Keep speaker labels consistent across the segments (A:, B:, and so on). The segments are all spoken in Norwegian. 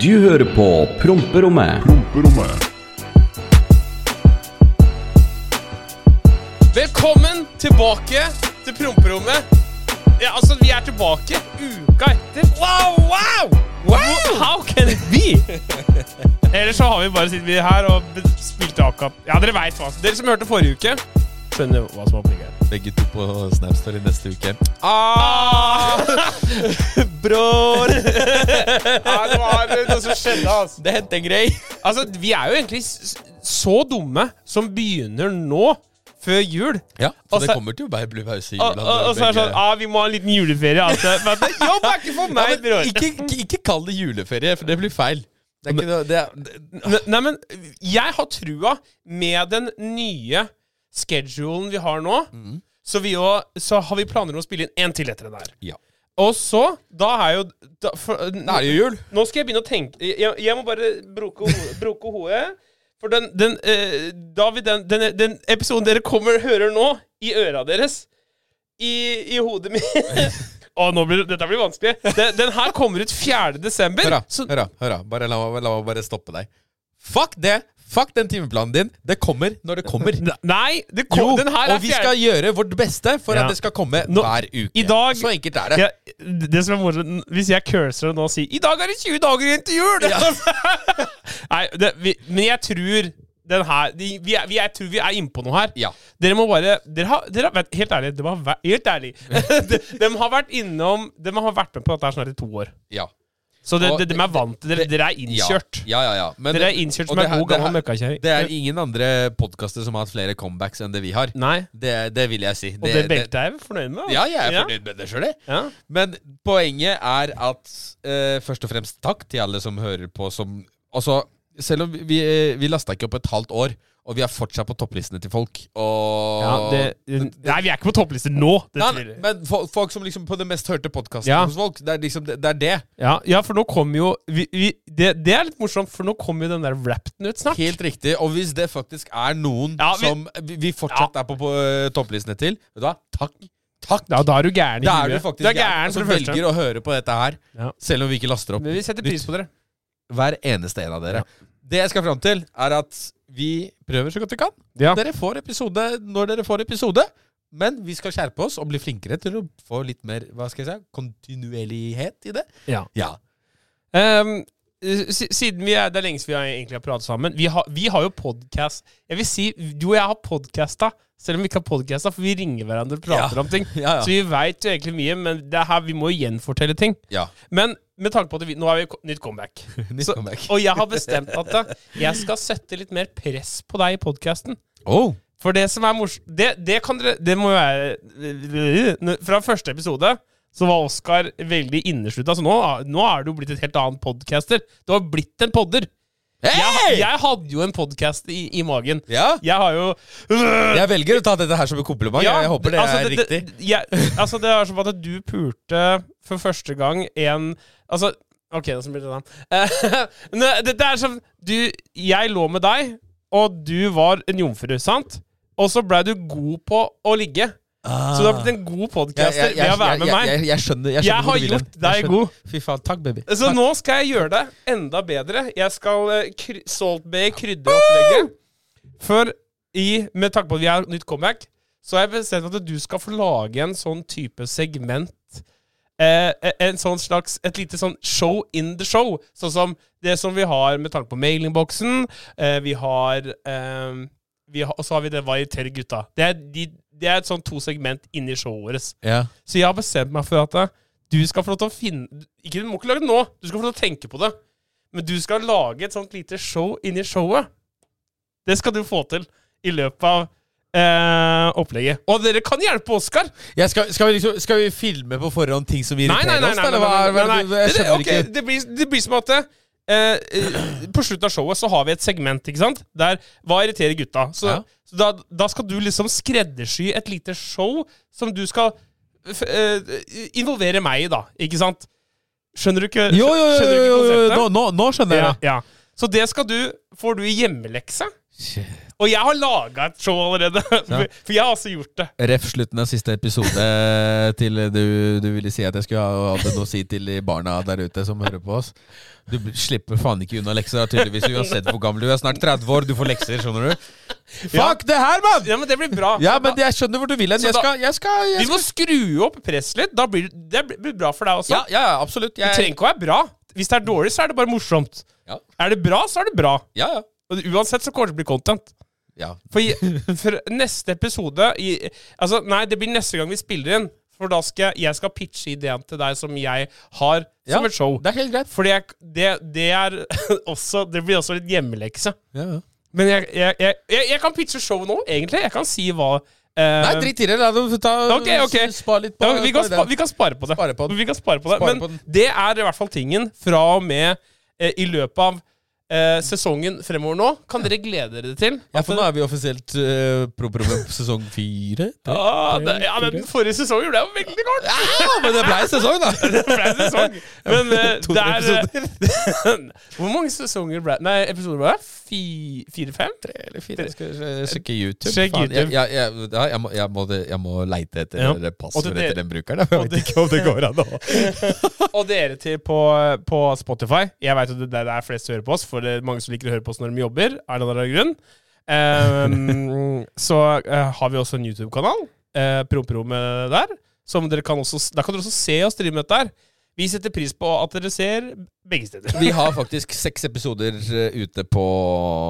A: Du hører på Promperommet.
B: Velkommen tilbake til promperommet. Ja, altså, vi er tilbake uka etter. Wow, wow! Wow! How can it be? Ellers så har vi bare sittet vi her og be- spilt akkurat. Ja, dere vet hva. Dere som hørte forrige uke, skjønner hva som har opplegget her.
C: Begge to på Snapstory neste uke.
B: Ah!
C: Bror!
B: Ja, det var noe som skjedde, altså.
C: Det hendte en grei.
B: Altså, vi er jo egentlig s- så dumme som begynner nå, før jul.
C: Ja,
B: Og
C: så
B: så-
C: det kommer til å bare bli pause i
B: Og, og, og så er det sånn ah, Vi må ha en liten juleferie. Altså. Men det- Jobb er ikke for meg, bror.
C: ikke, ikke, ikke kall det juleferie, for det blir feil. Det er ikke noe, det er, det,
B: Ne- Nei, men jeg har trua med den nye schedulen vi har nå. Så, vi jo, så har vi planer om å spille inn én til etter den der.
C: ja.
B: Og så Da er jo da, for,
C: Da er det jo jul.
B: Nå skal jeg begynne å tenke Jeg, jeg må bare bruke, ho- bruke hodet. For den, den, eh, da vil den, den, den episoden dere kommer hører nå, i øra deres I, i hodet mitt Å, nå blir, det- dette blir vanskelig. Den, den her kommer ut 4. desember.
C: Hør da,
B: så-
C: hør da. hør da. Bare la, meg- la meg bare stoppe deg. Fuck det! Fuck den timeplanen din. Det kommer når det kommer.
B: Nei, det kom, den her er
C: og vi skal gjøre vårt beste for
B: Ja.
C: at det skal komme
B: Nå-
C: hver uke.
B: i dag-
C: så enkelt er det.
B: Ja, det som er morsomt, Hvis jeg curser og nå sier 'I dag er det 20 dager igjen til jul!' Nei, det, vi, men jeg tror den her de, vi er, vi, Jeg tror vi er innpå noe her.
C: Ja.
B: Dere må bare dere har, dere har, vært- Helt ærlig, de har, vært- helt ærlig. de, dem har vært innom De har vært med på dette her snart i to år.
C: Ja.
B: Så de,
C: Og
B: de, er vant til Dere, dere er
C: Ja.
B: innkjørt.
C: Ja, ja, ja. Men-
B: Dere er innkjørt som
C: og det
B: en
C: her-
B: god
C: det
B: gammel
C: her-
B: møkkakjerring.
C: Det er ingen andre podkaster som har hatt flere comebacks enn det vi har.
B: Nei.
C: Det, det vil jeg si.
B: Og det, beltet er jeg fornøyd med. altså.
C: Ja, jeg er fornøyd med det sjøl, jeg.
B: Ja.
C: Men poenget er at eh, først og fremst takk til alle som hører på som Altså, selv om vi, eh, vi lasta ikke opp et halvt år, og vi er fortsatt på topplistene til folk, og
B: Ja, det, nei, vi er ikke på toppliste nå. Det
C: Nei,
B: tror
C: nei,
B: jeg.
C: men fo- folk som liksom på det mest hørte podkasten
B: Ja.
C: hos folk, det er liksom det. det, er det.
B: Ja, ja for nå kommer jo vi, vi, det, det er litt morsomt, for nå kommer jo den der Wrapped ut snart.
C: Helt riktig. Og hvis det faktisk er noen
B: Ja, vi-
C: som vi, vi fortsatt er på, på eh, topplistene til, vet du hva, takk. Takk.
B: Ja, da er du gæren i
C: Da er du
B: huet.
C: faktisk
B: Du er gæren, for
C: som
B: det første.
C: velger å høre på dette her.
B: Ja.
C: Selv om vi ikke laster opp.
B: Men vi setter pris på dere.
C: Hver eneste en av dere. Det jeg skal fram til, er at vi prøver så godt vi kan.
B: Ja.
C: Dere får episode når dere får episode. Men vi skal skjerpe oss og bli flinkere til å få litt mer hva skal jeg si, kontinuerlighet i det.
B: Ja.
C: Ja.
B: Ehm, s- siden vi er, Det er lenge siden vi har egentlig har pratet sammen. Vi har, vi har jo podcast Jeg vil si, Du og jeg har podcasta, selv om vi ikke har podcasta, for vi ringer hverandre og prater
C: Ja.
B: om ting.
C: Ja, ja.
B: Så vi veit jo egentlig mye, men det er her, vi må jo gjenfortelle ting.
C: ja.
B: Men med tanke på at vi, nå har vi ko- nytt comeback.
C: Nytt
B: Så-
C: comeback.
B: Og jeg har bestemt at eh, jeg skal sette litt mer press på deg i podkasten.
C: Oh.
B: For det som er morsomt det, det kan dere Det må jo være Fra første episode så var Oskar veldig inneslutta. Så nå, nå er du jo blitt et helt annet podcaster. Du har blitt en podder. Jeg, jeg hadde jo en podkast i, i magen.
C: Ja.
B: Jeg har jo
C: Jeg velger å ta dette her som en kompliment.
B: Ja,
C: jeg, jeg håper det
B: altså,
C: er
B: det-
C: riktig.
B: det- jeg- altså, det er som at du pulte for første gang en Altså, OK, det som blir det da. Eh, ne, Dette er som du Jeg lå med deg, og du var en jomfru, sant? Og så blei du god på å ligge. Så du
C: Ah.
B: har blitt en god podcaster ved å være med
C: jeg,
B: meg.
C: jeg, jeg skjønner, jeg
B: Jeg
C: skjønner hvor
B: har
C: du vil hen.
B: gjort
C: Jeg
B: deg
C: skjønner.
B: god.
C: Fy faen, takk, baby.
B: Så nå skal jeg gjøre det enda bedre. Jeg skal eh, kry Salt Bay krydderopplegget. For i, med tanke på at vi har nytt comeback, så har jeg bestemt at du skal få lage en sånn type segment. Eh, en sånn slags, Et lite sånn show in the show. Sånn som det som vi har med tanke på mailingboksen. Eh, vi har, eh, vi har Og så har vi det Hva irriterer gutta? Det er, de, det er et sånn to segment inni showet vårt.
C: Ja.
B: Så jeg har bestemt meg for at eh, du skal få lov til å finne Ikke Du må ikke lage det nå, du skal få lov til å tenke på det. Men du skal lage et sånt lite show inni showet. Det skal du få til i løpet av eh, opplegget. Og dere kan hjelpe Oskar!
C: Ja, skal, skal, vi liksom, skal vi filme på forhånd ting som
B: Nei, nei,
C: irriterer
B: nei. nei, nei,
C: oss? eller hva er-
B: nei,
C: hva
B: nei,
C: er det- Jeg skjønner
B: Ok, Det, blir, det blir som at eh, eh, På slutten av showet så har vi et segment ikke sant? der Hva irriterer gutta? Så,
C: Ja.
B: så da, da skal du liksom skreddersy et lite show som du skal f, eh, involvere meg i, da. Ikke sant? Skjønner du ikke,
C: ikke. Jo, jo, jo,
B: skjønner du ikke
C: jo, jo, jo.
B: konseptet?
C: Nå, nå, nå skjønner jeg
B: ja,
C: det.
B: ja. Så det skal du Får du i hjemmelekse? Og jeg har laga et show allerede!
C: Ja.
B: For jeg har også gjort det.
C: Ref slutten av siste episode til du, du ville si at jeg skulle ha hadde noe å si til de barna der ute som hører på oss. Du bl- slipper faen ikke unna lekser, da, tydeligvis uansett hvor gammel du er. Snart 30 år, du får lekser, skjønner du. Fuck det her, mann!
B: Ja, men det blir bra.
C: Ja, men jeg skjønner hvor du vil hen. Jeg
B: Så da-
C: skal, jeg skal,
B: Vi
C: jeg skal.
B: må skru opp presset litt. Da blir det- det blir bra for deg også.
C: Ja, ja, absolutt.
B: Det trenger
C: Jeg,
B: ikke å være bra. Hvis det er dårlig, så er det bare morsomt.
C: Ja.
B: Er det bra, så er det bra.
C: ja, ja.
B: Og uansett så kommer det til å bli content.
C: Ja,
B: For, i- for neste episode i, Altså, nei, det blir neste gang vi spiller inn. For da skal jeg, jeg skal pitche ideen til deg som jeg har som
C: Ja,
B: et show.
C: Det er helt greit.
B: Fordi jeg, det, det er også Det blir også litt hjemmelekse.
C: Ja, ja.
B: Men jeg, jeg, jeg, jeg, jeg kan pitche show nå, egentlig. Jeg kan si hva eh,
C: Nei, drit i det. La dem ta
B: Ok, ok.
C: Spar litt på
B: ja, vi, kan
C: spar
B: spa,
C: den.
B: vi kan spare på det.
C: Spare på den.
B: Vi kan spare på det.
C: Spare
B: Men
C: på den.
B: det er i hvert fall tingen fra og med eh, i løpet av eh, sesongen fremover nå. Kan dere glede dere til?
C: Ja, for nå er vi offisielt uh, pro-program sesong fire.
B: Ah, det, ja, men Den forrige sesongen ble jo veldig kort!
C: Ja, men det blei sesong, da!
B: Det ble en sesong. Men eh,
C: To
B: det er eh,
C: episoder.
B: Hvor mange sesonger ble Nei, episoder ble det? Fi- Fire-fem? Tre eller fire?
C: Jeg skal eh, sjekke YouTube.
B: Sjekk
C: faen.
B: YouTube.
C: Jeg, jeg, jeg, ja, jeg, må, jeg, må, det- jeg må leite etter
B: Ja. Og
C: det
B: til
C: passordet
B: dere-
C: til den brukeren. da, for
B: og
C: Jeg vet ikke om det går an å
B: Og dere til på, på Spotify. Jeg veit at det det er flest som hører på oss, for det er mange som liker å høre på oss når de jobber. Er det en eller annen grunn. Ehm, så eh, har vi også en YouTube-kanal, uh, Promperommet der. Som dere kan også, s- der kan dere også se og streame dette her. Vi setter pris på at dere ser begge steder.
C: Vi har faktisk seks episoder eh, ute på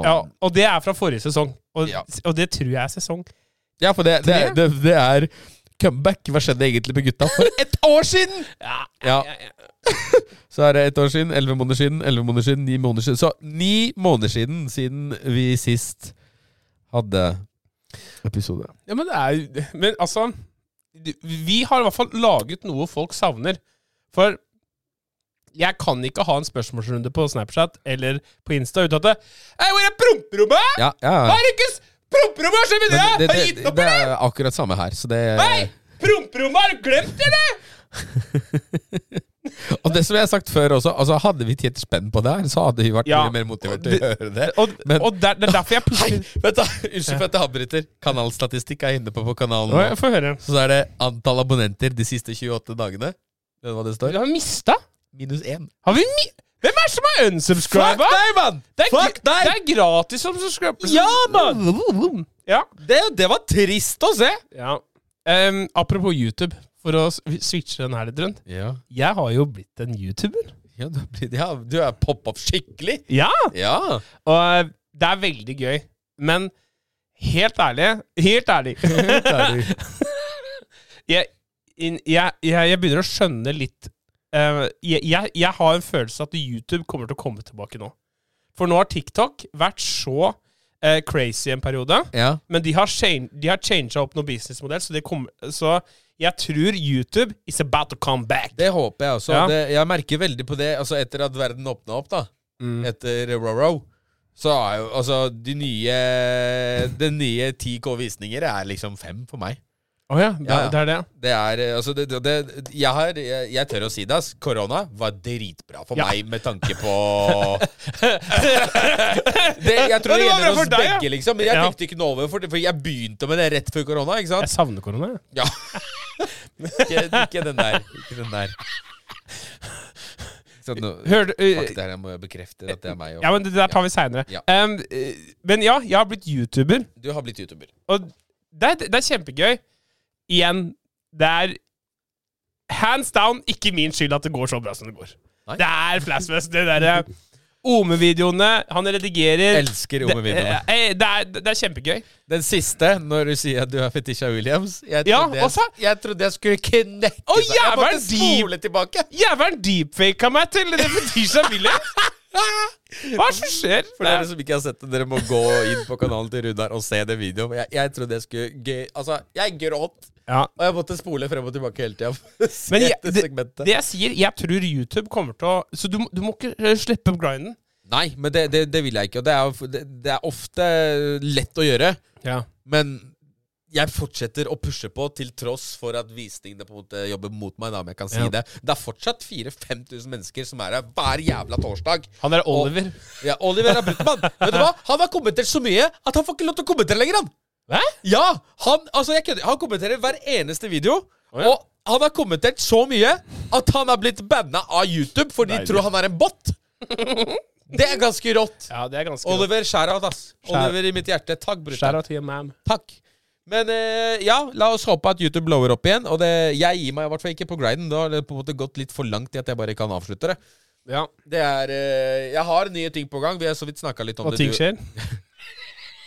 B: Ja, og det er fra forrige sesong. Og,
C: Ja.
B: og det tror jeg er sesong.
C: Ja, for det, det, det, det er comeback. Hva skjedde egentlig med gutta for ett år siden?!
B: Ja,
C: Ja. Så er det ett år siden, elleve måneder siden, elleve måneder siden, ni måneder siden. Så ni måneder siden siden vi sist hadde episode.
B: Ja, men det er jo Men altså du- Vi har i hvert fall laget noe folk savner. For jeg kan ikke ha en spørsmålsrunde på Snapchat eller på Insta uten at det, Hei, hvor er promperommet?!
C: Ja, ja.
B: Har du ikke s- Promperommet, hva skjer med det?!
C: Men det,
B: Har du
C: det,
B: gitt
C: det,
B: opp,
C: det
B: eller?!
C: er akkurat samme her, så det
B: Hei! Promperommet, har du glemt det, eller?!
C: Og det som jeg har sagt før også, altså hadde vi tjent spenn på det her, så hadde vi vært
B: Ja.
C: mye mer motivert til å
B: Det-
C: gjøre det.
B: Og,
C: Men-
B: og der, det er derfor jeg
C: Hei,
B: plutselig
C: vent da, Unnskyld for at jeg avbryter. Kanalstatistikk er jeg inne på på kanalen.
B: Å, jeg
C: nå.
B: får høre.
C: Så er det antall abonnenter de siste 28 dagene. Vet du hva det
B: Vi
C: står?
B: har mista?
C: Minus én.
B: Har vi mi... Hvem er det som har unsubscriba?
C: mann!
B: Det, er
C: Fuck
B: gr-
C: deg!
B: det er gratis å subscribe.
C: Ja, mann!
B: Ja.
C: Det, det var trist å se!
B: Ja. Em, apropos YouTube, for å s- switche den her litt rundt.
C: Ja,
B: Jeg har jo blitt en YouTuber.
C: ja, du, har blitt- ja du er poppa skikkelig.
B: Ja!
C: Ja.
B: Og eh, det er veldig gøy. Men helt ærlig Helt ærlig. jeg, inn- jeg, jeg, jeg begynner å skjønne litt eh, jeg, jeg, jeg har en følelse at YouTube kommer til å komme tilbake nå. For nå har TikTok vært så eh, crazy en periode.
C: ja.
B: Men de har, chan- de har changet opp noen businessmodell, så, det kommer- så jeg tror YouTube is about to come back.
C: Det håper jeg også.
B: Ja.
C: Det, jeg merker veldig på det altså etter at verden åpna opp, da. Etter Roro. Så er jo altså de nye De nye 10K visninger er liksom fem for meg.
B: Å ja, det,
C: Ja, ja.
B: det er det.
C: Det er eh, Altså, det, det, det jeg, har, jeg, jeg tør å si det, ass. Korona var dritbra for
B: Ja.
C: meg med tanke på det, Jeg
B: Men det var bra
C: tror det gjelder
B: for
C: oss
B: deg, ja.
C: begge, liksom. Men jeg
B: Ja.
C: tenkte ikke noe over for det, for jeg begynte med det rett før korona, ikke sant?
B: Jeg savner korona. jeg.
C: Ja. ikke, ikke den der. Ikke den der. Så nå,
B: Hør, du, eh,
C: fuck det her, jeg må bekrefte at det er meg. og-
B: ja, men det der tar vi seinere.
C: Ja.
B: men ja, jeg har blitt YouTuber,
C: Du har blitt YouTuber.
B: og det er, det er kjempegøy. Igjen, det er hands down ikke min skyld at det går så bra som det går.
C: Nei.
B: Det er flashfest, det derre Ome-videoene. Han redigerer.
C: Elsker
B: Det,
C: Ome-videoene.
B: eh, det, er, det er kjempegøy.
C: Den siste, når du sier at du er Fetisha Williams Jeg
B: Ja,
C: trodde, jeg,
B: også-
C: jeg, trodde jeg skulle knekke
B: Å,
C: seg. Jeg måtte
B: jævelen, de-
C: spole tilbake.
B: Jævelen deepfaka meg til det Fetisha Williams! Hva er det som skjer?
C: For dere som ikke har sett det, dere må gå inn på kanalen til Runar og se den videoen. Jeg, jeg trodde jeg skulle gøy, Altså, jeg gråt.
B: ja.
C: Og jeg måtte spole frem og tilbake hele tida. Se
B: Men jeg,
C: det
B: det,
C: segmentet.
B: det jeg sier, jeg tror YouTube kommer til å Så du, må- du må ikke eh, slippe opp grinden.
C: Nei, men det, det, det vil jeg ikke. Og det er, jo- det, det er ofte lett å gjøre. Men jeg fortsetter å pushe på til tross for at visningene på en måte jobber mot meg. da, om jeg kan si
B: Ja.
C: Det Det er fortsatt 4000-5000 mennesker som er her hver jævla torsdag.
B: Han er Oliver.
C: Ja, Oliver er Brutmann. Vet du hva? Han har kommentert så mye at han får ikke lov til å kommentere lenger. han
B: Hæ?
C: Ja, Han altså jeg kødder, han kommenterer hver eneste video.
B: Å, ja.
C: Og han har kommentert så mye at han er blitt banna av YouTube fordi de
D: Deilig.
C: tror han er en bot. Det er ganske rått.
B: Ja, det er ganske rått.
C: Oliver, shout-out, ass. Oliver i mitt hjerte. Takk, brutter'n.
B: Shout out to your mam.
C: Takk. Men eh, ja, la oss håpe at YouTube blower opp igjen. Og det, jeg gir meg i hvert fall ikke på griden. Da har det på en måte gått litt for langt i at jeg bare kan avslutte det.
B: Ja.
C: Det er eh, Jeg har nye ting på gang. Vi har så vidt snakka litt om
B: Og
C: det.
B: ting skjer.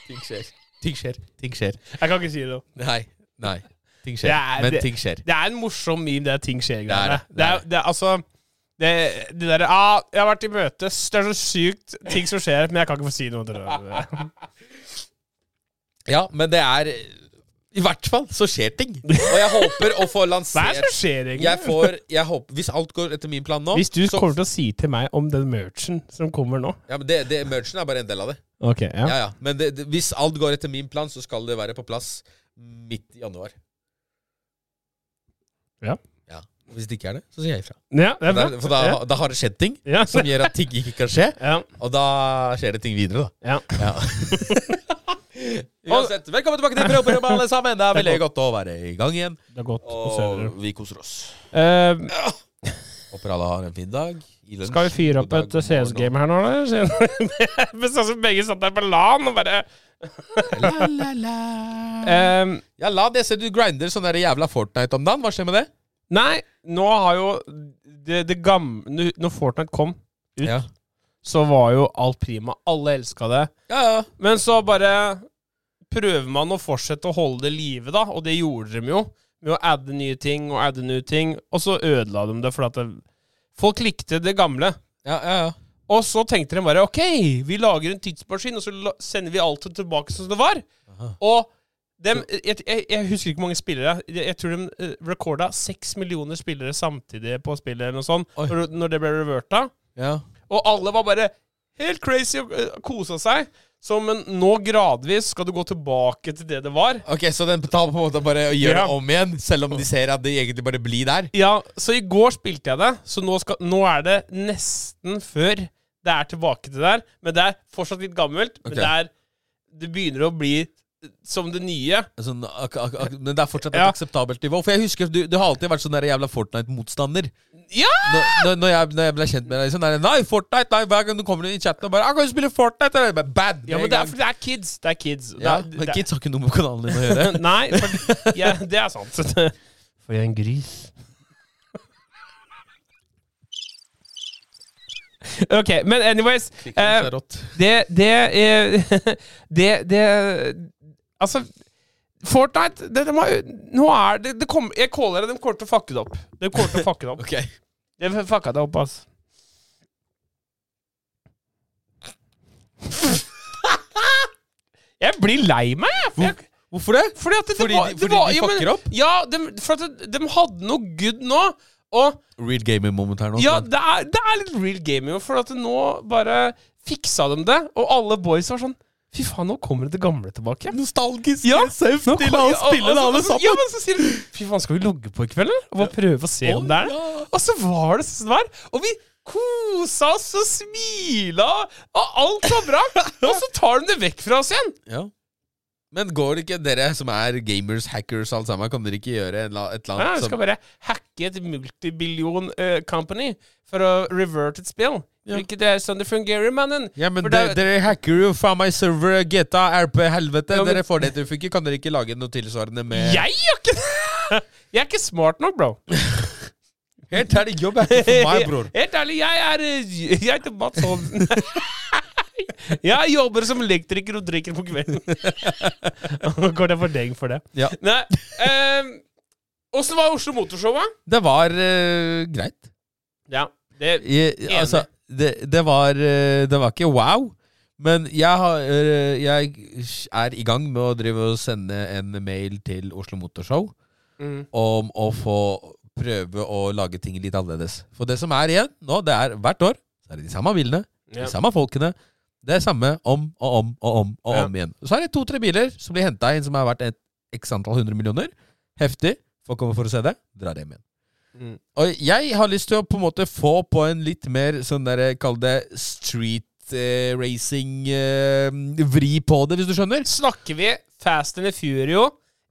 C: Ting skjer. Ting skjer. Ting skjer.
B: Jeg kan ikke si det.
C: Nei. Nei. Ting skjer.
B: Det er-
C: Men
B: det-
C: ting skjer.
B: Det er en morsom meme, det ting skjer-greiene.
C: Det er det, det
B: Det,
C: er
B: er- det er altså det, det derre ah, 'Jeg har vært i møte. Det er så sykt ting som skjer, men jeg kan ikke få si noe til det.
C: Ja, men det er I hvert fall så skjer ting. Og jeg håper å få
B: Hva er det
C: lansert
B: som skjer, egentlig?
C: jeg får, jeg håper, Hvis alt går etter min plan nå
B: Hvis du
C: så,
B: kommer til å si til meg om den merchen som kommer nå
C: ja, men det, det, Merchen er bare en del av det.
B: Ok, ja.
C: Ja, ja. Men det, det, hvis alt går etter min plan, så skal det være på plass midt i januar.
B: Ja.
C: Hvis det ikke er det, så sier jeg ifra.
B: ja det er bra.
C: Der, for da,
B: ja.
C: da har det skjedd ting
B: Ja.
C: som gjør at ting ikke kan skje,
B: Ja.
C: og da skjer det ting videre, da.
B: Ja.
C: Uansett, velkommen tilbake til Prøverommet, alle sammen. Det er veldig godt å være i gang igjen.
B: Det er godt å se dere.
C: Og vi koser oss.
B: Eh,
C: Håper alle har en fin dag. I lunsj,
B: skal vi fyre
C: god
B: opp
C: dag,
B: et eh,
C: god morgen,
B: CS-game her nå, eller? Siden- Men sånn som begge satt der på LAN og bare
C: og- La, la, la.
B: eh,
C: Ja, la det se. Du grinder sånn der jævla Fortnite om dagen. Hva skjer med det?
B: Nei, nå har jo det, det gamle Når Fortnite kom, Ut.
C: Ja,
B: så var jo alt prima. Alle elska det.
C: ja. ja.
B: Men så bare prøver man å fortsette å holde det i live, da, og det gjorde de jo. Med å adde nye ting og adde nye ting, og så ødela de det fordi at det, folk likte det gamle.
C: ja, ja, ja.
B: Og så tenkte de bare OK, vi lager en tidsmaskin, og så la- sender vi alt tilbake som det var.
C: Aha.
B: Og dem, jeg, jeg, jeg husker ikke hvor mange spillere. Jeg, jeg tror de eh, recorda seks millioner spillere samtidig på spillet eller noe sånt,
C: Oi.
B: når, når det ble reverta.
C: ja.
B: Og alle var bare helt crazy og eh, kosa seg. Så, men nå gradvis skal du gå tilbake til det det var.
C: Ok, Så den tar på en måte bare og gjør
B: Ja.
C: det om igjen, selv om de ser at det egentlig bare blir der?
B: Ja, så i går spilte jeg det, så nå, skal, nå er det nesten før det er tilbake til der. Men det er fortsatt litt gammelt, men
C: Ok.
B: det er Det begynner å bli eh, som det nye.
C: Sånn, ak ak ak men det er fortsatt et
B: Ja.
C: akseptabelt nivå. For jeg husker Du, du har alltid vært sånn der jævla Fortnite-motstander.
B: Ja!
C: Når, når, når, jeg, når jeg ble kjent med deg, sånn der, Nei, Fortnite! Nei, hver gang du kommer inn i chatten og bare «Ah, 'Kan du spille Fortnite?' Eller jeg bare bad!
B: Ja, men
C: med en
B: det er
C: gang.
B: fordi det er kids. Det er kids. Det
C: ja,
B: er-
C: men
B: det er-
C: Kids har ikke noe med kanalen din å gjøre.
B: Nei, for, ja, det er sant. For jeg er en gris. Ok, men anyways eh, Det, det, eh, det, det Altså, Fortnite det, det må, Nå er det, det kommer- Jeg caller det, de kommer til å fucke det opp. De kommer til å fucke det opp.
C: Ok.
B: De fucka det opp, ass. Jeg blir lei meg, jeg. for jeg.
C: Hvorfor det?
B: Fordi at det,
C: Fordi
B: det var,
C: de-
B: det
C: fordi
B: var,
C: de
B: ja, men-
C: fucker opp?
B: Ja, dem- for at de, hadde noe good nå. Og
C: Real gaming moment her nå.
B: ja,
C: Sånn.
B: det er, det er litt real gaming, for at nå bare fiksa de det. Og alle boys var sånn Fy faen, nå kommer det gamle tilbake.
C: Nostalgisk
B: Ja, nå
C: safety!
B: kom-
C: La oss
B: ja, og-
C: spille det,
B: og-
C: alle
B: og- Ja,
C: sammen!
B: men så sier de Fy faen, skal vi logge på i kveld, eller? Og bare prøve å se om det er det.
C: ja.
B: Og så var det sånn det var. Og vi kosa oss og smila, og alt var bra. Og så tar de det vekk fra oss igjen.
C: Ja. Men går det ikke dere som er gamers, hackers, alt sammen, kan dere ikke gjøre en la- et eller
B: Ja,
C: annet
B: vi skal bare hacke et multibillion eh, company for å revert et spill.
C: Ja.
B: Ikke det er sånn det fungerer, mannen.
C: Ja, men
B: For
C: de,
B: det-
C: Dere hacker jo faen meg server, GTA, RP, helvete.
B: Ja, men-
C: Dere får det til å funke. Kan dere ikke lage noe tilsvarende med
B: Jeg er ikke Jeg er ikke smart nok, bro.
C: Helt ærlig, jobb er ikke for meg, bror.
B: Helt ærlig, jeg er eh, Jeg heter Mats Holm. Jeg jobber som elektriker og drikker på kvelden. Går det for deg for det?
C: Ja.
B: Nei ehm, Åssen var Oslo Motorshow, da?
C: Det var eh, greit.
B: Ja, det
C: Jeg, altså, det, det var eh, Det var ikke wow. Men jeg, har, eh, jeg er i gang med å drive og sende en mail til Oslo Motorshow
B: mm,
C: om å få prøve å lage ting litt annerledes. For det som er igjen nå, det er hvert år så er det de samme bilene,
B: ja.
C: de samme folkene. Det er samme om og om og om og
B: Ja.
C: om igjen. Så er det to-tre biler som blir henta inn, som har vært et, x antall hundre millioner. Heftig. Folk kommer for å se det. Drar hjem igjen.
B: Mm.
C: Og jeg har lyst til å på en måte få på en litt mer sånn derre Kall det street eh, racing eh, Vri på det, hvis du skjønner.
B: Snakker vi Fast and the Furio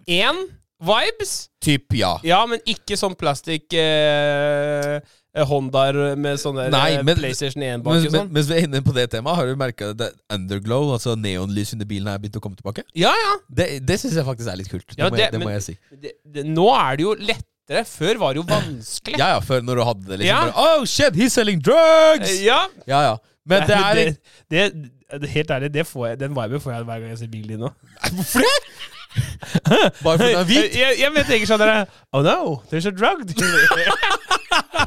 B: 1-vibes?
C: Typ ja.
B: Ja, men ikke sånn plastikk eh, eh, Hondaer med sånne der,
C: Nei,
B: eh,
C: men-
B: PlayStation 1 bak
C: Men,
B: og
C: men,
B: sånn.
C: mens vi er inne på det temaet, har du merka at det- underglow, altså neonlys under bilen, har begynt å komme tilbake?
B: Ja, ja.
C: Det, det syns jeg faktisk er litt kult. Det,
B: Ja,
C: må, jeg,
B: det-
C: det må
B: men-
C: jeg si.
B: Det, det, nå er det jo lettere. Før var det jo vanskelig.
C: Ja, ja, før når du hadde det liksom
B: Ja.
C: bare, Oh shit, he's selling drugs!
B: Eh, ja.
C: Ja, ja. Men det er
B: det, det- det- Helt ærlig, det får jeg, den viben får jeg hver gang jeg ser bilen din nå.
C: Hvorfor det? Bare fordi den er hvit?
B: Jeg, jeg vet ikke sånn dere Oh no, there's a drug Ja,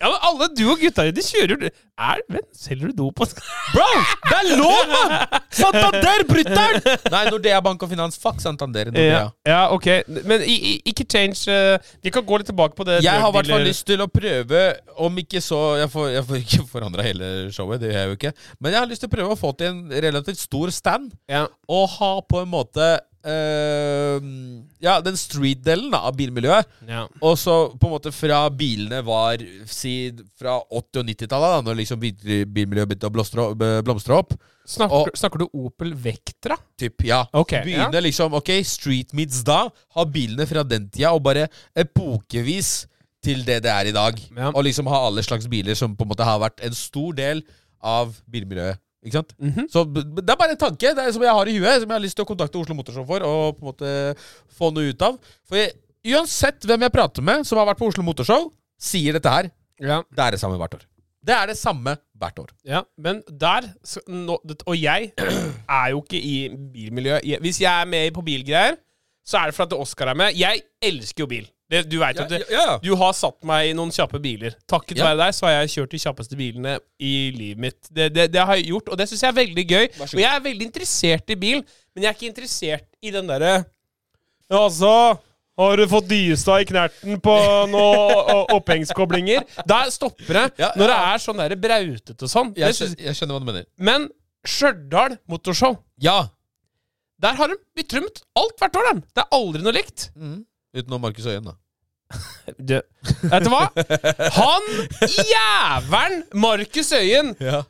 B: men alle du og gutta dine kjører jo- er, men, Selger du dop og
C: Bro, det er lov, mann! Santander, brutter'n! Nei, Nordea Bank og Finans. Fuck Santander. Nordea.
B: ja, ja, ok. Men i, i, ikke change eh, Vi kan gå litt tilbake på det.
C: Jeg har i hvert fall
B: drugdealer-
C: lyst til å prøve, om ikke så Jeg får, jeg får ikke forandra hele showet, det gjør jeg jo ikke. Men jeg har lyst til å prøve å få til en relativt stor stand.
B: Ja.
C: Og ha på en måte eh, Ja, den street-delen da, av bilmiljøet.
B: Ja.
C: Og så på en måte fra bilene var si, fra 80- og 90-tallet, da når liksom bil- bilmiljøet begynte å blomstre, blomstre opp.
B: Snakker,
C: Og-
B: snakker du Opel Vectra?
C: Typ, ja.
B: Ok,
C: Begynne liksom Ok, street meets da. Ha bilene fra den tida, og bare epokevis til det det er i dag.
B: Ja.
C: Og liksom ha alle slags biler som på en måte har vært en stor del av bilmiljøet. Ikke sant? Så b- b- det er bare en tanke det er, som jeg har i huet, som jeg har lyst til å kontakte Oslo Motorshow for, og på en måte få noe ut av. For jeg, uansett hvem jeg prater med som har vært på Oslo Motorshow, sier dette her.
B: Ja.
C: Det er det samme hvert år. Det er det samme hvert år.
B: Ja, men der så, nå, det- Og jeg er jo ikke i bilmiljøet. Jeg- Hvis jeg er med på bilgreier, så er det fordi Oskar er med. Jeg elsker jo bil. Det, du vet jo at det, du har satt meg i noen kjappe biler. Takket
C: Ja.
B: være deg så har jeg kjørt de kjappeste bilene i livet mitt. Det, det, det har jeg gjort, og det syns jeg er veldig gøy.
C: Vær så
B: Og
C: god.
B: jeg er veldig interessert i bil, men jeg er ikke interessert i den derre Ja, altså har du fått dyestad i knerten på noen opphengskoblinger? Der stopper det.
C: Ja,
B: Når det
C: ja.
B: er sånn der brautete og sånn.
C: Jeg,
B: Det synes-
C: skjønner, jeg skjønner hva du mener.
B: men Stjørdal Motorshow,
C: Ja!
B: der har de betrymt alt hvert år, dem. Det er aldri noe likt.
C: Utenom Markus Øyen, da.
B: Vet du hva? Han jævelen Markus Øyen.
C: Ja.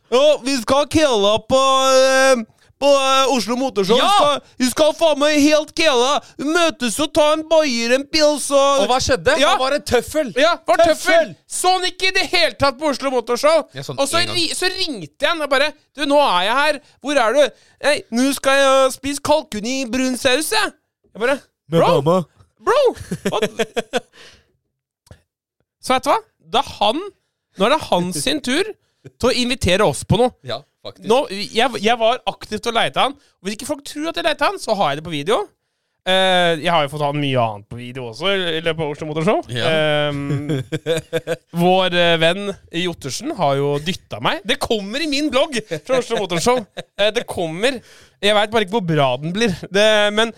B: vi skal killa på eh, på Oslo Motorshow.
C: Vi skal-
B: vi skal faen meg helt killa. Møtes og ta en bayer, en pils
C: Og hva skjedde?
B: Ja.
C: Han var en tøffel!
B: Ja, var tøffel!
C: Tøffel!
B: Sånn ikke i det hele tatt på Oslo Motorshow.
C: Ja, sånn
B: og så,
C: en gang.
B: ri, så ringte jeg han og bare Du, nå er jeg her. Hvor er du? Hei, nå skal jeg øh, spise kalkun i brun saus, jeg. Jeg bare Bro! Bro! Hva? så vet du hva? Det er han Nå er det hans sin tur til å invitere oss på noe.
C: Ja, faktisk.
B: Nå, jeg, jeg var aktivt og leita han. Hvis ikke folk tror at jeg leita han, så har jeg det på video. Eh, jeg har jo fått han mye annet på video også, i løpet av Oslo Motorshow.
C: Ja.
B: Eh, vår eh, venn Jottersen har jo dytta meg. Det kommer i min blogg fra Oslo Motorshow! Eh, det kommer. Jeg veit bare ikke hvor bra den blir. Det, men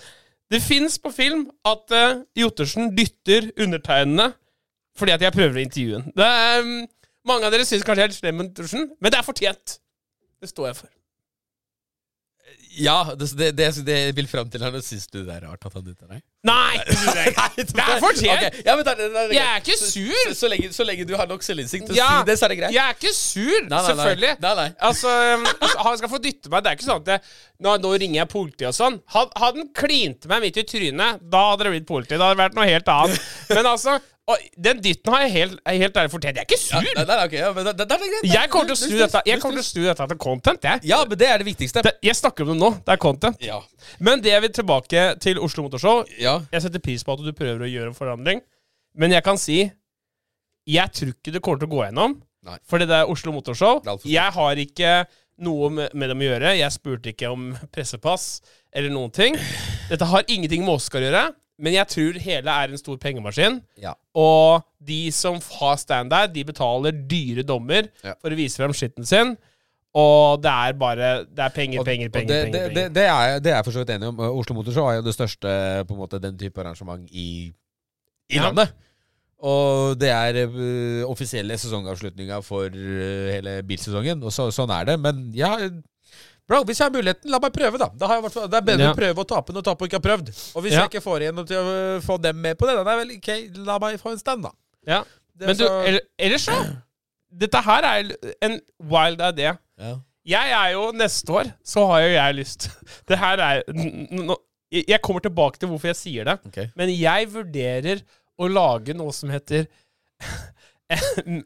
B: det fins på film at eh, Jottersen dytter undertegnede fordi at jeg prøver å intervjue den. Det er, mm, mange av dere syns kanskje jeg er helt slem med Jottersen, men det er fortjent. Det står jeg for.
C: Ja, det, det, det, det jeg vil fram til her nå, syns du det er rart at han dytter deg?
B: Nei! Det er fortjent!
C: Ok, Ja, men da- da- da- da-
B: Jeg er ikke
C: så-
B: sur.
C: Så, så, lenge, så lenge du har nok selvinnsikt til å
B: Ja.
C: si det, så er det greit.
B: Jeg er ikke sur,
C: Nei, nei, nei.
B: selvfølgelig.
C: Nei, nei.
B: Altså, um, altså, Han skal få dytte meg. Det er ikke sånn at jeg, nå, nå ringer jeg politiet og sånn. Had- Hadde han klint meg midt i trynet, da hadde det blitt politi. Da hadde det vært noe helt annet. Men altså, og, den dytten har jeg helt, er helt ærlig fortjent. Jeg er ikke
C: Ja,
B: sur!
C: nei, nei, ok, ja, men da, da da er det greit. da.
B: Jeg kommer til å
C: Null
B: snu
C: stress,
B: dette Jeg
C: null
B: kommer til å
C: stress.
B: snu dette til content, jeg.
C: Ja, men det er det viktigste.
B: Det, jeg snakker om det nå. Det er content.
C: Ja.
B: Men det jeg vil tilbake til Oslo Motorshow
C: ja.
B: Jeg setter pris på at du prøver å gjøre en forandring, men jeg kan si Jeg tror ikke det kommer til å gå gjennom,
C: Nei.
B: fordi det er Oslo Motorshow.
C: Det er alt for stort.
B: Jeg har ikke noe med med dem å gjøre. Jeg spurte ikke om pressepass eller noen ting. Dette har ingenting med Oscar å gjøre, men jeg tror hele er en stor pengemaskin.
C: Ja.
B: Og de som har stand der, de betaler dyre dommer
C: Ja.
B: for å vise frem skitten sin. Og det er bare Det er penger,
C: Og-
B: penger, penger.
C: og det,
B: penger,
C: det,
B: penger.
C: det, det er jeg- det er jeg for så vidt enig om. Oslo Motorshow er jo det største på en måte, den type arrangement i, i
B: Ja.
C: landet. Og det er eh, offisielle sesongavslutninga for eh, hele bilsesongen. Og så, sånn er det. Men ja,
D: Bro, hvis jeg har muligheten, la meg prøve, da. da har jeg, i hvert fall- det er bedre
B: Ja.
D: å prøve å tape enn å tape og ikke ha prøvd. Og hvis
B: Ja.
D: jeg ikke får igjennom til å øh, få dem med på det, da er det vel ok, la meg få en stand, da.
B: Ja.
D: Det
B: Men du,
D: så-
C: altså-
B: eller- ellers så Dette her er en wild idé.
D: ja.
B: Jeg er jo Neste år så har jo jeg lyst Det her er n- n- nå- Jeg jeg kommer tilbake til hvorfor jeg sier det,
D: Ok.
B: men jeg vurderer å lage noe som heter en-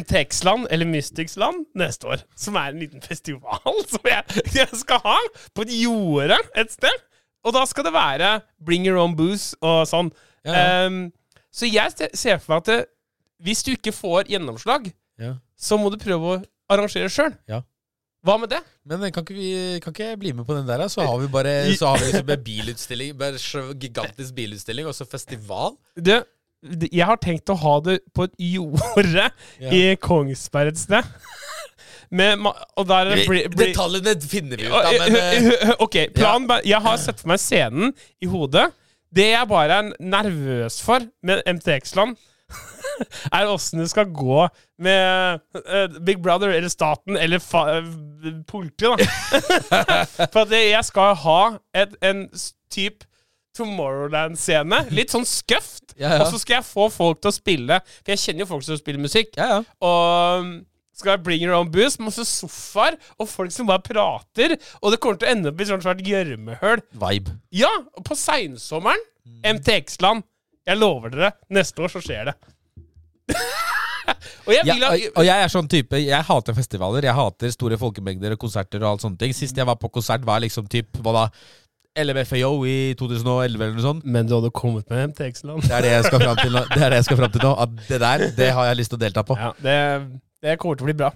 B: NTX-land, eller Mystics-land, neste år. Som er en liten festival som jeg, jeg skal ha på et jorde et sted. Og da skal det være bring your own booze og sånn.
D: Ja,
B: Ehm, så jeg se- ser for meg at det, hvis du ikke får gjennomslag,
D: Ja.
B: så må du prøve å arrangere sjøl.
D: Ja.
B: Hva med det?
D: Men eh, kan ikke, vi, kan ikke jeg bli med på den der, da? Så har vi bare så har vi liksom en bilutstilling. Bare så gigantisk bilutstilling, og så festival.
B: Du, d- jeg har tenkt å ha det på et jorde i Kongsberg et sted. Med, ma- og der er det bli- bli-
D: Detaljene finner vi ut
B: Å,
D: av, men eh,
B: eh, Ok, planen ba- Jeg har sett for meg scenen i hodet. Det jeg bare er nervøs for med MTX-land, er åssen det skal gå med eh, Big Brother eller staten eller fa eh, politiet, da. for at jeg skal ha et, en s- typ Tomorrowland-scene. Litt sånn skøft.
D: Ja, ja.
B: Og så skal jeg få folk til å spille. For jeg kjenner jo folk som spiller musikk.
D: ja, ja.
B: Og um, skal jeg bring your own booze, masse sofaer og folk som bare prater. Og det kommer til å ende opp i sånn svært gjørmehull.
D: Vibe.
B: Ja, og på seinsommeren. MTX-land. Jeg lover dere, neste år så skjer det. og jeg
C: Ja,
B: vil at
C: og- og jeg er sånn type Jeg hater festivaler. Jeg hater store folkemengder og konserter og alt sånne ting. Sist jeg var på konsert, var liksom typ Hva da? LMFAO i 2011 eller noe sånt.
B: Men du hadde kommet med MTX-land.
C: Det er det jeg skal fram til nå. Det er det jeg skal fram til nå At det der, det har jeg lyst til å delta på.
B: Ja, det, det kommer til å bli bra.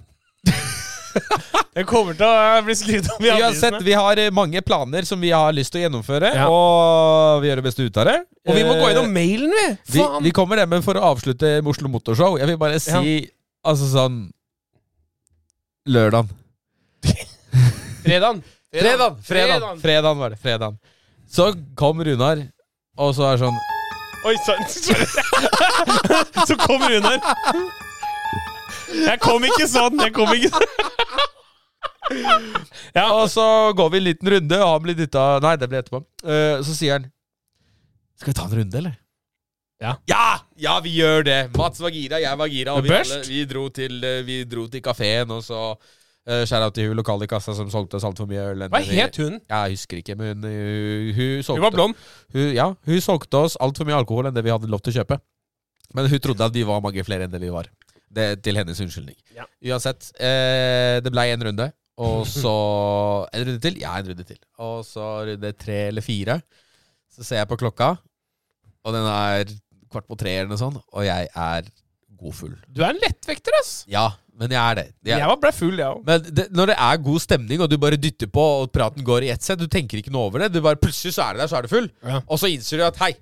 B: det kommer til å eh, bli skrevet om i
C: Uansett,
B: avisene.
C: vi har eh, mange planer som vi har lyst til å gjennomføre,
B: Ja.
C: og vi gjør det beste ut av det.
B: Og vi må gå
C: Eh,
B: gjennom mailen, vi!
C: Vi,
B: Faen!
C: vi kommer det, men for å avslutte med Oslo Motorshow Jeg vil bare si Altså sånn Lørdagen
B: Fredagen.
C: Fredagen Fredagen Fredagen var det Fredagen Så kom Runar Og så er sånn
B: Oi sann! Så kom Runar. Jeg kom ikke sånn. Jeg kom ikke sånn. Ja,
C: Og så går vi en liten runde Og han blir dytta Nei, det blir etterpå Eh, Så sier han Skal vi ta en runde, eller?
B: Ja.
C: ja! Ja, vi gjør det Mats var gira, jeg var gira Og vi,
B: Børst?
C: alle, vi dro til eh, Vi dro til kaféen Og så uh, Skjæret til hun lokale i kassa Som solgte oss alt for mye øl
B: hva het hun?
C: Jeg husker ikke, men hun, hun, hun solgte
B: Hun var blond.
C: Hun, ja, hun solgte oss altfor mye alkohol enn det vi hadde lov til å kjøpe. Men hun trodde at vi var mange flere enn det vi var. Det, til hennes unnskyldning.
B: Ja.
C: Uansett, eh, det blei en runde. Og så En runde til? Ja, en runde til. Og så runde tre eller fire. Så ser jeg på klokka, og den er kvart på tre eller noe sånt, og jeg er godfull.
B: Du er en lettvekter, ass.
C: Ja, men jeg er det. Jeg,
B: Jeg var ble full, jeg òg.
C: men det, når det er god stemning, og du bare dytter på, og praten går i ett sett, du tenker ikke noe over det. Du bare Plutselig så er det der, så er du full.
B: Ja.
C: Og så innser du at hei,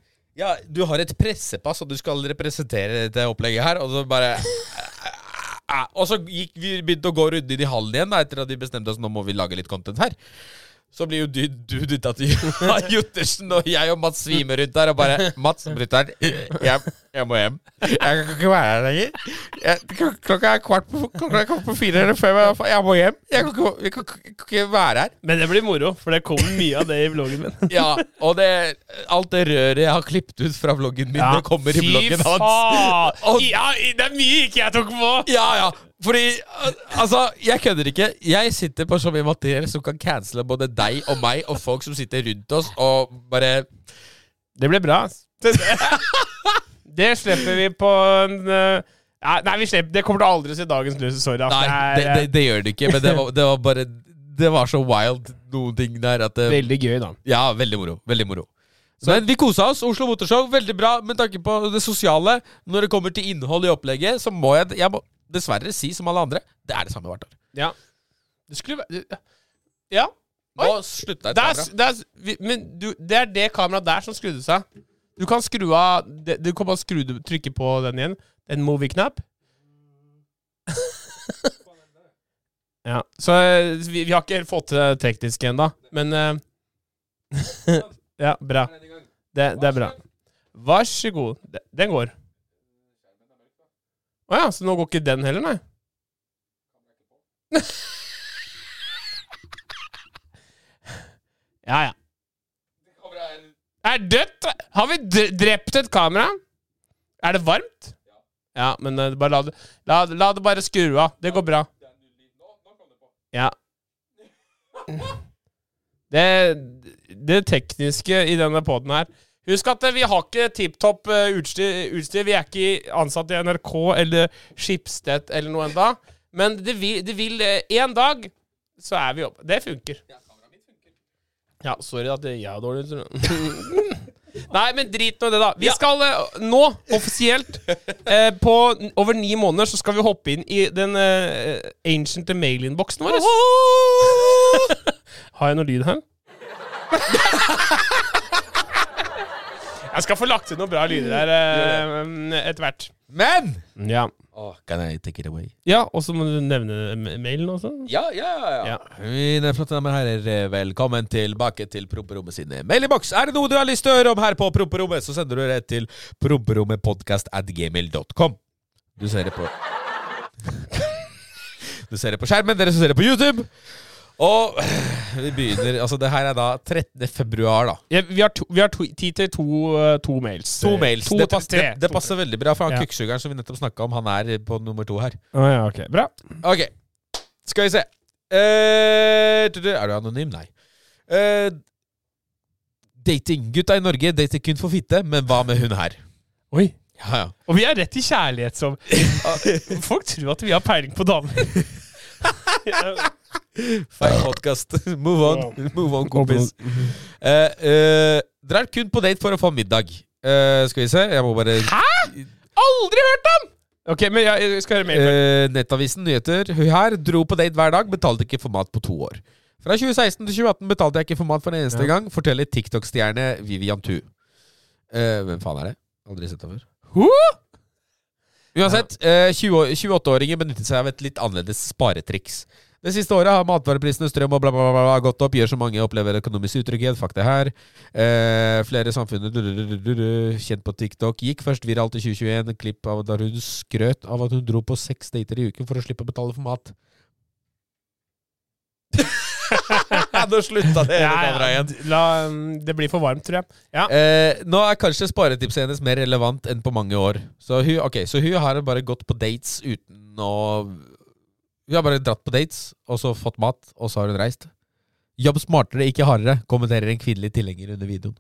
C: ja, du har et pressepass, og du skal representere dette opplegget her. Og så bare eh, Ah, Og så gikk vi begynte å gå runder i hallen igjen da, etter at vi bestemte oss nå må vi lage litt content her. Så blir jo du, du dytta til Juttersen, og jeg og Mats svimer rundt der og bare Mats, brutter'n, jeg, jeg må hjem. Jeg kan ikke være her lenger. Jeg, klok- klokka er kvart på, klokka er kvart på fire eller fem. jeg- Jeg må hjem. Jeg kan ikke, jeg kan, ikke- jeg kan ikke være her.
B: Men det blir moro, for det kommer mye av det i vloggen min.
C: Ja, og det, alt det røret jeg har klippet ut fra vloggen min, det kommer i vloggen hans.
B: faen!
C: Og-
B: Ja, det er mye ikke jeg tok på!
C: Ja, ja. Fordi al- Altså, jeg kødder ikke. Jeg sitter på så mye materiell som kan cancele både deg og meg og folk som sitter rundt oss og bare
B: Det ble bra. ass. Det, det slipper vi på en eh, Nei, nei, vi slipper. det kommer til å aldri å se dagens lys. Sorry. ass.
C: Nei,
B: Det
C: det,
B: er,
C: det, det gjør det ikke, men det var, det var bare Det var så wild, noen ting der, at
B: eh,
C: det,
B: Veldig gøy, da.
C: Ja, veldig moro. Veldig moro. Men vi kosa oss. Oslo Motorshow, veldig bra med tanke på det sosiale. Når det kommer til innhold i opplegget, så må jeg, jeg må dessverre si som alle andre det er det samme hvert år.
B: Ja. Det skulle være Ja. Oi.
C: Nå slutta jeg
B: Det
C: å
B: er,
C: ta bra.
B: s- det er, s- vi- men du, det er det kameraet der som skrudde seg. Du kan skru av det- Du kan bare skru, det- trykke på den igjen. En movie-knapp. ja. Så eh, vi, vi har ikke helt fått til det tekniske ennå, men eh, Ja, bra. Det, det er bra. Vær så god. De- Den går. Å ja, så nå går ikke den heller, nei? Ja, ja. Er dødt! Har vi dre- drept et kamera? Er det varmt? Ja, men eh, bare la det la, la det bare skru av. Det går bra. Ja. Det, det tekniske i denne poden her Husk at eh, vi har ikke tipp topp eh, utstyr, utstyr. Vi er ikke ansatt i NRK eller Schibsted eller noe enda. Men det vil, det vil eh, En dag så er vi oppe. Det funker. Ja, sorry at jeg er dårlig. tror jeg. Nei, men drit nå i det, da. Vi skal eh, nå, offisielt, eh, på n- over ni måneder, så skal vi hoppe inn i den eh, ancient mail-innboksen vår. Har jeg noe lyd her? jeg skal få lagt ut noen bra lyder her eh, etter hvert.
C: Men!
B: Ja.
C: Can I take it away?
B: ja, og så må du nevne ma- mailen også.
D: Ja, ja, ja.
B: Ja.
D: ja.
C: Mine flotte damer og herrer, velkommen tilbake til Promperommet sine mailinnboks. Er det noe du har lyst til å høre om her på Promperommet, så sender du det til promperommetpodkastatgmail.com. Du ser det på Du ser det på skjermen, dere som ser det på YouTube. Og vi begynner Altså, det her er da 13. februar, da.
B: Ja, vi har, to, vi har to, tid til to, eh, to mails.
C: To mails.
B: To,
C: det,
B: til
C: passer,
B: tre.
C: det, det passer veldig bra, for han
B: Ja.
C: kukksugeren som vi nettopp snakka om, han er på nummer to her.
B: Å ja, ok. Bra.
C: Ok, skal vi se. Eh, du- du- er du anonym? Nei. Eh, dating. Gutta i Norge dater kun for fitte, men hva med hun her?
B: Oi.
C: Ja, ja.
B: Og vi er rett i kjærlighet som Folk tror at vi har peiling på damer.
C: Feil podkast. Move on, Move on kompis. Eh, eh, drar kun på date for å få middag. Eh, skal vi se, jeg må bare
B: Aldri hørt om! Ok, men jeg, jeg skal høre mer.
C: Eh, Nettavisen Nyheter. Hun her dro på date hver dag, betalte ikke for mat på to år. Fra 2016 til 2018 betalte jeg ikke for mat for en eneste gang, forteller TikTok-stjerne Vivian Tu. Eh, hvem faen er det? Aldri sett henne før.
B: Ho?
C: Uansett, eh, 20 år- 28-åringen benyttet seg av et litt annerledes sparetriks. Det siste året har matvareprisene, strøm og bla, bla, bla, bla gått opp, gjør så mange opplever økonomisk utrygghet. Fuck det her. Eh, flere i samfunnet du, du, du, du, du, kjent på TikTok gikk først viralt i 2021. Klipp av der hun skrøt av at hun dro på seks dater i uken for å slippe å betale for mat. Nå slutta det
B: Ja, ja, La, um, det blir for varmt, tror jeg. Ja.
C: Eh, nå er kanskje sparetipset hennes mer relevant enn på mange år. Så hun, ok, så hun har bare gått på dates uten å Hun har bare dratt på dates, og så fått mat, og så har hun reist. Jobb smartere, ikke hardere, kommenterer en kvinnelig tilhenger under videoen.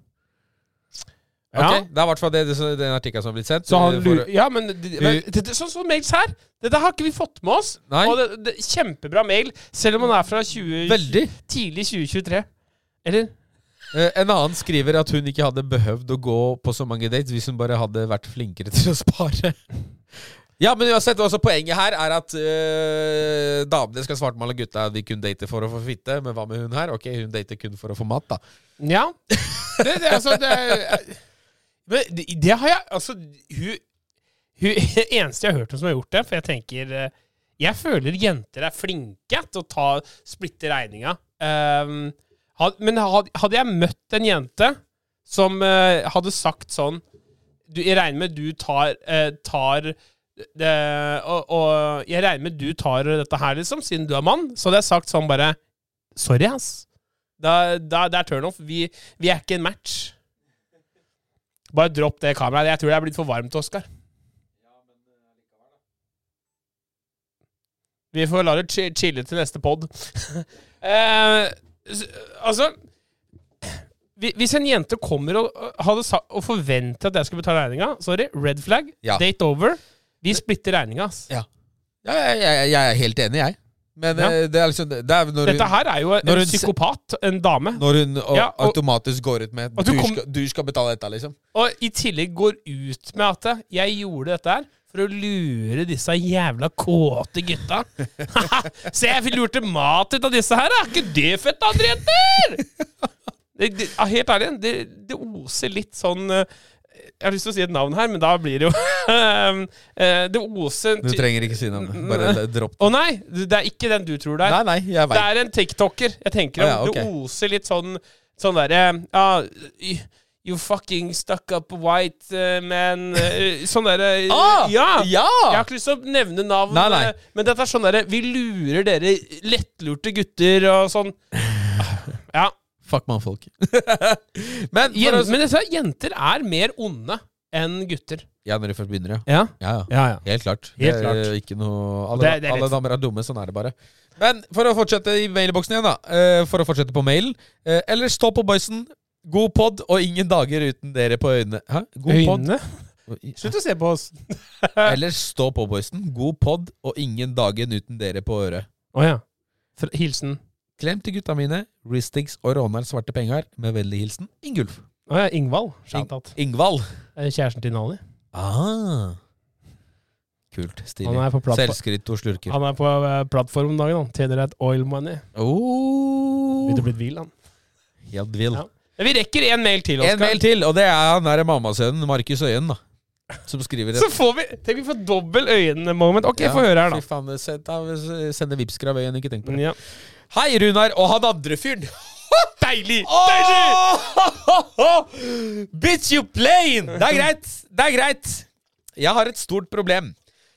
B: Ja.
C: Ok, Det er i hvert fall det, det, det- den artikkelen som har blitt sendt.
B: Så han
C: Eh, for-
B: lurer Ja, men, det- men det- det- sånn som mails her Dette har ikke vi fått med oss.
C: Nei.
B: Og det, det, kjempebra mail, selv om han er fra 20,
C: Veldig.
B: tidlig 2023. Eller?
C: Eh, En annen skriver at hun ikke hadde behøvd å gå på så mange dates hvis hun bare hadde vært flinkere til å spare. Ja, men uansett, også poenget her er at eh, damene skal svartmale gutta de kun dater for å få fitte, men hva med hun her? Ok, hun dater kun for å få mat, da.
B: Ja. Det, det, altså, det er- men det, det har jeg Altså, hun, hun Eneste jeg har hørt om som har gjort det, for jeg tenker eh, Jeg føler jenter er flinke til å ta splitte regninga. Ehm, had, men had, hadde jeg møtt en jente som eh, hadde sagt sånn du, Jeg regner med du tar, eh, tar det, og, og jeg regner med du tar dette her, liksom, siden du er mann. Så hadde jeg sagt sånn bare Sorry, ass. Da, da, det er turnoff. Vi, vi er ikke en match. Bare dropp det kameraet. Jeg tror det er blitt for varmt, Oskar. Vi får la det chi- chille til neste pod. eh, s- altså hvi- Hvis en jente kommer og, og hadde sa, og forventer at jeg skulle betale regninga Sorry, red flag.
C: Ja.
B: Date over. Vi splitter regninga. ass.
C: Ja, jeg, jeg, jeg er helt enig, jeg. Men
B: Ja.
C: eh, det er liksom det er når
B: Dette
C: hun,
B: her er jo en
C: Når hun se-
B: psykopat. En dame.
C: når hun og,
B: Ja, og-
C: automatisk går ut med
B: Og
C: du,
B: du kom-
C: skal, du skal betale dette, liksom.
B: Og i tillegg går ut med at eh, jeg gjorde dette her for å lure disse jævla kåte gutta. Se, jeg fikk lurte mat ut av disse her, da! Er ikke det fett, da, dere jenter? Det, det, ja, helt ærlig, det, det oser litt sånn eh, Jeg har lyst til å si et navn her, men da blir det jo eh, Det oser en
C: Du
B: ty-
C: trenger ikke si noe om det. Bare dropp
B: Å nei, det er ikke den du tror det er.
C: Nei, nei, jeg
B: Det
C: veit.
B: er en tiktoker. Jeg tenker om
C: Ah, ja, ok.
B: Det oser litt sånn Sånn derre ja, y- You fucking stuck up white eh, man eh, Sånn derre
C: Ah,
B: Ja! Jeg
C: ja!
B: har ikke lyst til å nevne navn,
C: Nei, nei.
B: eh, men dette er sånn derre Vi lurer dere lettlurte gutter og sånn. Ja.
C: Fuck mannfolk. Men for
B: Jen,
C: oss-
B: men jeg sa, jenter er mer onde enn gutter.
C: Ja, når de først begynner, ja.
B: Ja,
C: ja, ja.
B: ja, ja.
C: Helt klart.
B: Helt
C: det er
B: klart.
C: Ikke noe, alle,
B: Det- det er
C: alle
B: litt-
C: damer er dumme, sånn er det bare. Men for å fortsette i mailboksen igjen, da. eh, For å fortsette på mailen. eh, Eller stå på boysen. God pod og ingen dager uten dere på øynene. Hæ? God pod.
B: Øynene? Slutt å se på oss.
C: Eller stå på boysen. God pod og ingen dagen uten dere på øret.
B: Å ja. Fra- Hilsen.
C: Klem til gutta mine. Ristigs og Rånar svarte penger. Med vennlig hilsen Ingulf.
B: Å ja, Ingvald. Shoutout.
C: Ingvald.
B: Eh, Kjæresten til Nali.
C: Ah. Kult.
B: Han
C: Stilig.
B: er på, plattform,
C: Selvskritt og slurker.
B: han er på eh, plattform om dagen. Han tjener et oil money.
C: Uh. Oh.
B: Begynte å bli hvil, han.
C: Helt vill.
B: Ja. Men vi rekker én mail til,
C: En
B: Oskar.
C: mail til, og det er han der mammasønnen Markus Øyen, da. Som skriver
B: Så får vi Tenk vi får dobbel øyenmoment. Ok, få høre her, da.
C: Fy faen, det send- da sender vipsker av Øyen, ikke tenk på det.
B: Ja.
C: Hei, Runar og han andre fyren.
B: Deilig! Deilig!
C: Åh! Bitch, you plain! Det er greit. Det er greit. Jeg har et stort problem.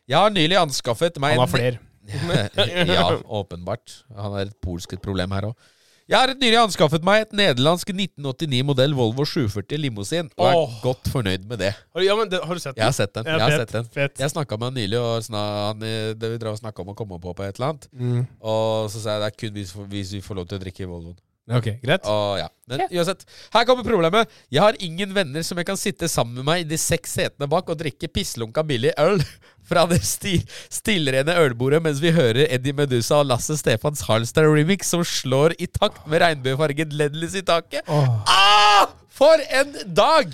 C: Jeg har nylig anskaffet meg
B: Han har
C: en-
B: flere.
C: ja, åpenbart. Han er et polsk et problem her òg. Jeg har et nylig anskaffet meg et nederlandsk 1989-modell Volvo 740 limousin, og er
B: Åh.
C: godt fornøyd med det.
B: Ja, men det, har du sett den?
C: Jeg har sett den.
B: Ja,
C: Jeg har
B: fett,
C: sett den.
B: fett.
C: Jeg snakka med han nylig, og sna, han, eh, det vi drev og snakka om å komme på på et eller annet.
B: Mm.
C: Og så sa jeg det er kun hvis, hvis vi får lov til å drikke Volvoen.
B: Ok, greit.
C: Og ja, Men uansett, her kommer problemet. Jeg har ingen venner som jeg kan sitte sammen med meg i de seks setene bak og drikke pisslunka billig øl fra det sti, stilrene ølbordet mens vi hører Eddie Medusa og Lasse Stefans Harlstad remix som slår i takt med regnbuefarget LED-lys i taket. Ah! For en dag!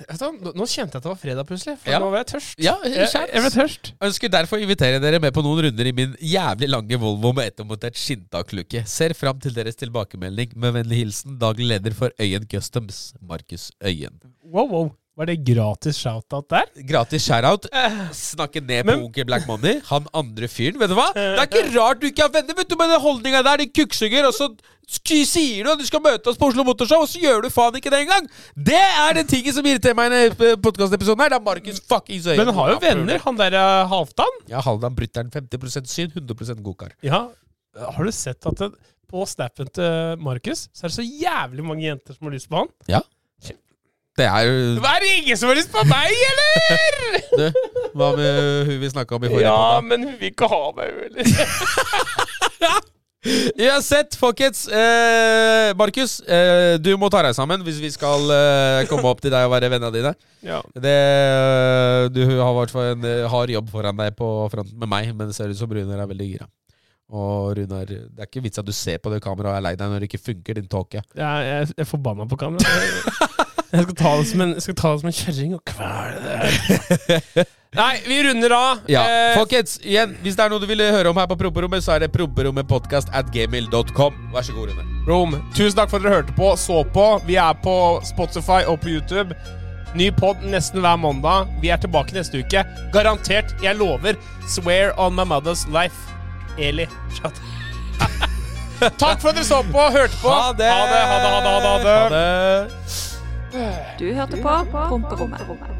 B: Vet du hva, Nå, nå kjente jeg at det var fredag plutselig, for
C: Ja.
B: nå var jeg tørst.
C: Ja,
B: Jeg,
C: skjerp.
B: jeg ble tørst.
C: Ønsker derfor å invitere dere med på noen runder i min jævlig lange Volvo med ettermontert skinntaklukke. Ser fram til deres tilbakemelding. Med vennlig hilsen daglig leder for Øyen Customs, Markus Øyen.
B: Wow, wow. Var det gratis shoutout der?
C: Gratis share-out. Snakke ned på
B: Men-
C: onkel Black Money. Han andre fyren, vet du hva? Det er ikke rart du ikke har venner, vet du, med den holdninga der, din kukksuger. Og så sk- sier du at du skal møte oss på Oslo Motorshow, og så gjør du faen ikke det engang! Det er den tingen som irriterer meg i denne podkastepisoden her. Det er Markus fuckings Øyen.
B: Men han har jo venner, han der eh, Halvdan.
C: Ja, Halvdan Brutter'n 50 syn, 100 godkar.
B: Ja. Har du sett at det, på snappen til Markus så er det så jævlig mange jenter som har lyst på han?
C: Det er jo
B: Hva er det ingen som har lyst på meg, eller?!
C: Du, hva med hun vi snakka om i forrige
B: ja,
C: podda?
B: men hun vil ikke ha meg, eller?
C: Uansett, folkens. Eh, Markus, eh, du må ta deg sammen hvis vi skal eh, komme opp til deg og være vennene dine.
B: ja.
C: Det, eh, du har i hvert fall en eh, hard jobb foran deg på fronten med meg, men det ser ut som Runar er veldig gira. Og Runar, det er ikke vits at du ser på det kameraet og er lei deg når det ikke funker, din tåke.
B: Jeg, jeg, jeg er forbanna på kamera. Jeg, jeg skal ta det som en, jeg skal ta det som en kjerring og kvele det. Nei, vi runder av.
C: Ja,
B: Eh,
C: folkens, igjen, hvis det er noe du ville høre om her på Promperommet, så er det promperommetpodkast at gmail.com. Vær så god, Runar.
B: Rom, tusen takk for at dere hørte på, så på. Vi er på Spotify og på YouTube. Ny pod nesten hver mandag. Vi er tilbake neste uke. Garantert. Jeg lover. Swear on my mother's life. Eli. Shut up. Takk for at dere så på, hørte på.
C: Ha det!
B: Ha det, ha det, ha det, ha det.
C: Ha det.
E: Du hørte på Promperommet.